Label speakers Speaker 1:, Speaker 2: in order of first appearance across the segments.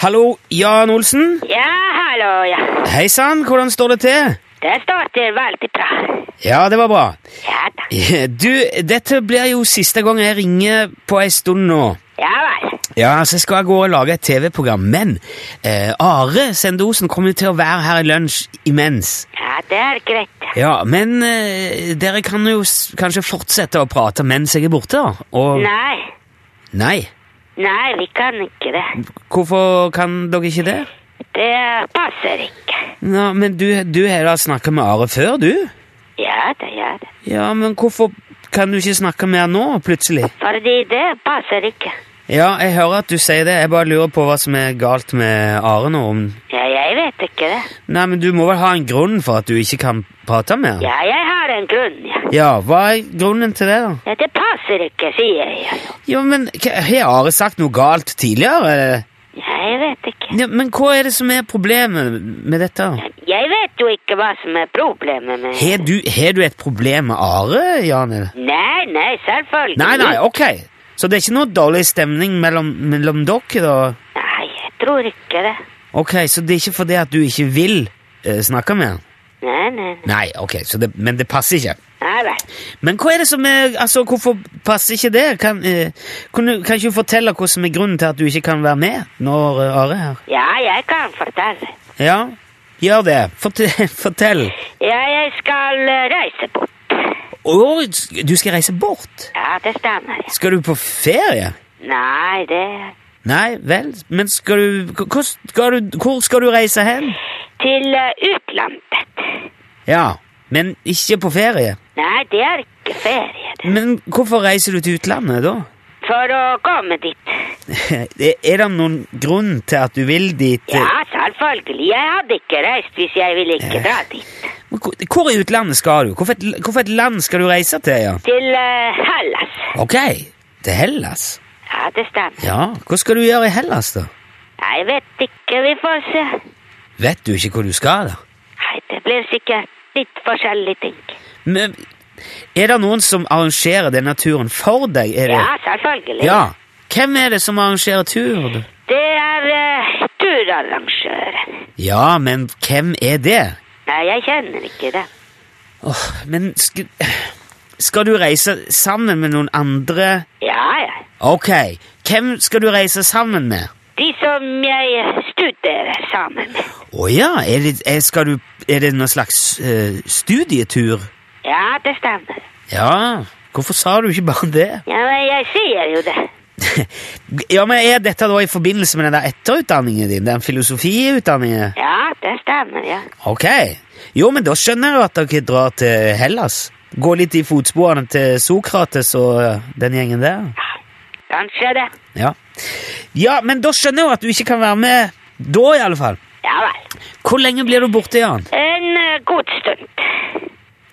Speaker 1: Hallo, Jan Olsen.
Speaker 2: Ja, hallo, ja.
Speaker 1: Hei sann, hvordan står det til?
Speaker 2: Det står til veldig bra.
Speaker 1: Ja, det var bra.
Speaker 2: Ja da.
Speaker 1: Du, dette blir jo siste gang jeg ringer på ei stund nå.
Speaker 2: Ja vel.
Speaker 1: Ja, så skal jeg gå og lage et TV-program, men eh, Are Sendosen kommer til å være her i lunsj imens.
Speaker 2: Ja, det er greit.
Speaker 1: Ja, men eh, dere kan jo s kanskje fortsette å prate mens jeg er borte, da? Og
Speaker 2: Nei.
Speaker 1: Nei.
Speaker 2: Nei, vi kan ikke det.
Speaker 1: Hvorfor kan dere ikke det?
Speaker 2: Det passer ikke.
Speaker 1: Nå, men du, du har da snakka med Are før, du?
Speaker 2: Ja da, ja da.
Speaker 1: Ja, men hvorfor kan du ikke snakke mer nå, plutselig?
Speaker 2: Fordi det passer ikke.
Speaker 1: Ja, jeg hører at du sier det, jeg bare lurer på hva som er galt med Are nå. Om...
Speaker 2: Ja, jeg vet ikke det.
Speaker 1: Nei, men du må vel ha en grunn for at du ikke kan prate mer?
Speaker 2: Ja, jeg har en grunn, ja.
Speaker 1: Ja, hva er grunnen til det, da?
Speaker 2: Ja, det passer ikke, sier jeg.
Speaker 1: Jo, men hva- har Are sagt noe galt tidligere?
Speaker 2: Ja, jeg vet ikke.
Speaker 1: Ja, men hva er det som er problemet med dette?
Speaker 2: Jeg vet jo ikke hva som er problemet med
Speaker 1: Har du, har du et problem med Are, Jan? eller?
Speaker 2: Nei, nei, selvfølgelig.
Speaker 1: Nei, nei, ok. Så det er ikke noe dårlig stemning mellom, mellom dere, da?
Speaker 2: Nei, jeg tror ikke det.
Speaker 1: Ok, så det er ikke fordi at du ikke vil eh, snakke med han?
Speaker 2: Nei, nei, nei.
Speaker 1: Nei, ok, så det, men det passer ikke.
Speaker 2: Nei vel.
Speaker 1: Men hva er det som er, altså hvorfor passer ikke det? Kan, eh, kan, du, kan ikke du fortelle hva som er grunnen til at du ikke kan være med når eh, Are er her?
Speaker 2: Ja, jeg kan fortelle.
Speaker 1: Ja, gjør det. Fortell. fortell.
Speaker 2: Ja, jeg skal eh, reise bort.
Speaker 1: Å, du skal reise bort?
Speaker 2: Ja, det stemmer. ja.
Speaker 1: Skal du på ferie?
Speaker 2: Nei, det
Speaker 1: Nei, vel, men skal du, hvor skal du, hvor skal du reise hen?
Speaker 2: Til eh, utlandet.
Speaker 1: Ja, men ikke på ferie.
Speaker 2: Nei, det er ikke ferie. det.
Speaker 1: Men hvorfor reiser du til utlandet da?
Speaker 2: For å komme dit.
Speaker 1: Er er det noen grunn til at du vil dit?
Speaker 2: Ja, selvfølgelig. Jeg hadde ikke reist hvis jeg ville ikke dra dit.
Speaker 1: Men Hvor hvor i utlandet skal du? Hvorfor et, hvorfor et land skal du reise til? ja?
Speaker 2: Til eh, Hellas.
Speaker 1: Ok, til Hellas.
Speaker 2: Ja, det stemmer.
Speaker 1: Ja, Hva skal du gjøre i Hellas, da?
Speaker 2: Jeg vet ikke, vi får se.
Speaker 1: Vet du ikke hvor du skal, da?
Speaker 2: Nei, det blir sikkert litt forskjellige ting.
Speaker 1: Men, er det noen som arrangerer den turen for deg? Er det?
Speaker 2: Ja, selvfølgelig.
Speaker 1: ja. Hvem er det som arrangerer turen? da?
Speaker 2: Det er eh, turarrangøren.
Speaker 1: Ja, men hvem er det?
Speaker 2: Nei, jeg kjenner ikke det.
Speaker 1: Åh, men skal, skal du reise sammen med noen andre?
Speaker 2: Ja, ja.
Speaker 1: Ok, hvem skal du reise sammen med?
Speaker 2: De som jeg studerer sammen med.
Speaker 1: Å ja, er det, er, skal du, er det noen slags eh, studietur?
Speaker 2: Ja, det stemmer.
Speaker 1: Ja, hvorfor sa du ikke bare det?
Speaker 2: Ja, men jeg sier jo det.
Speaker 1: ja, men Er dette da i forbindelse med den der etterutdanningen din? Den filosofiutdanningen?
Speaker 2: Ja, det stemmer, ja.
Speaker 1: Ok. Jo, men da skjønner jeg jo at dere drar til Hellas. Gå litt i fotsporene til Sokrates og eh, den gjengen der.
Speaker 2: Kanskje det.
Speaker 1: Ja. ja, men da skjønner jeg jo at du ikke kan være med da, i alle fall.
Speaker 2: Ja vel.
Speaker 1: Hvor lenge blir du borte, Jan?
Speaker 2: En eh, god stund.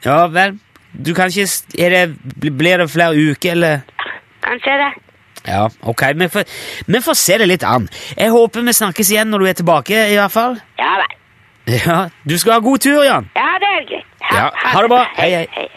Speaker 1: Ja vel, du kan ikke s- er det, Blir det flere uker, eller?
Speaker 2: Kanskje det.
Speaker 1: Ja, ok, vi får, vi får se det litt an. Jeg håper vi snakkes igjen når du er tilbake, i hvert fall.
Speaker 2: Ja vel.
Speaker 1: Ja, Du skal ha god tur, Jan.
Speaker 2: Ja, det er greit.
Speaker 1: Ja, ha det bra. Hei, hei.
Speaker 2: hei.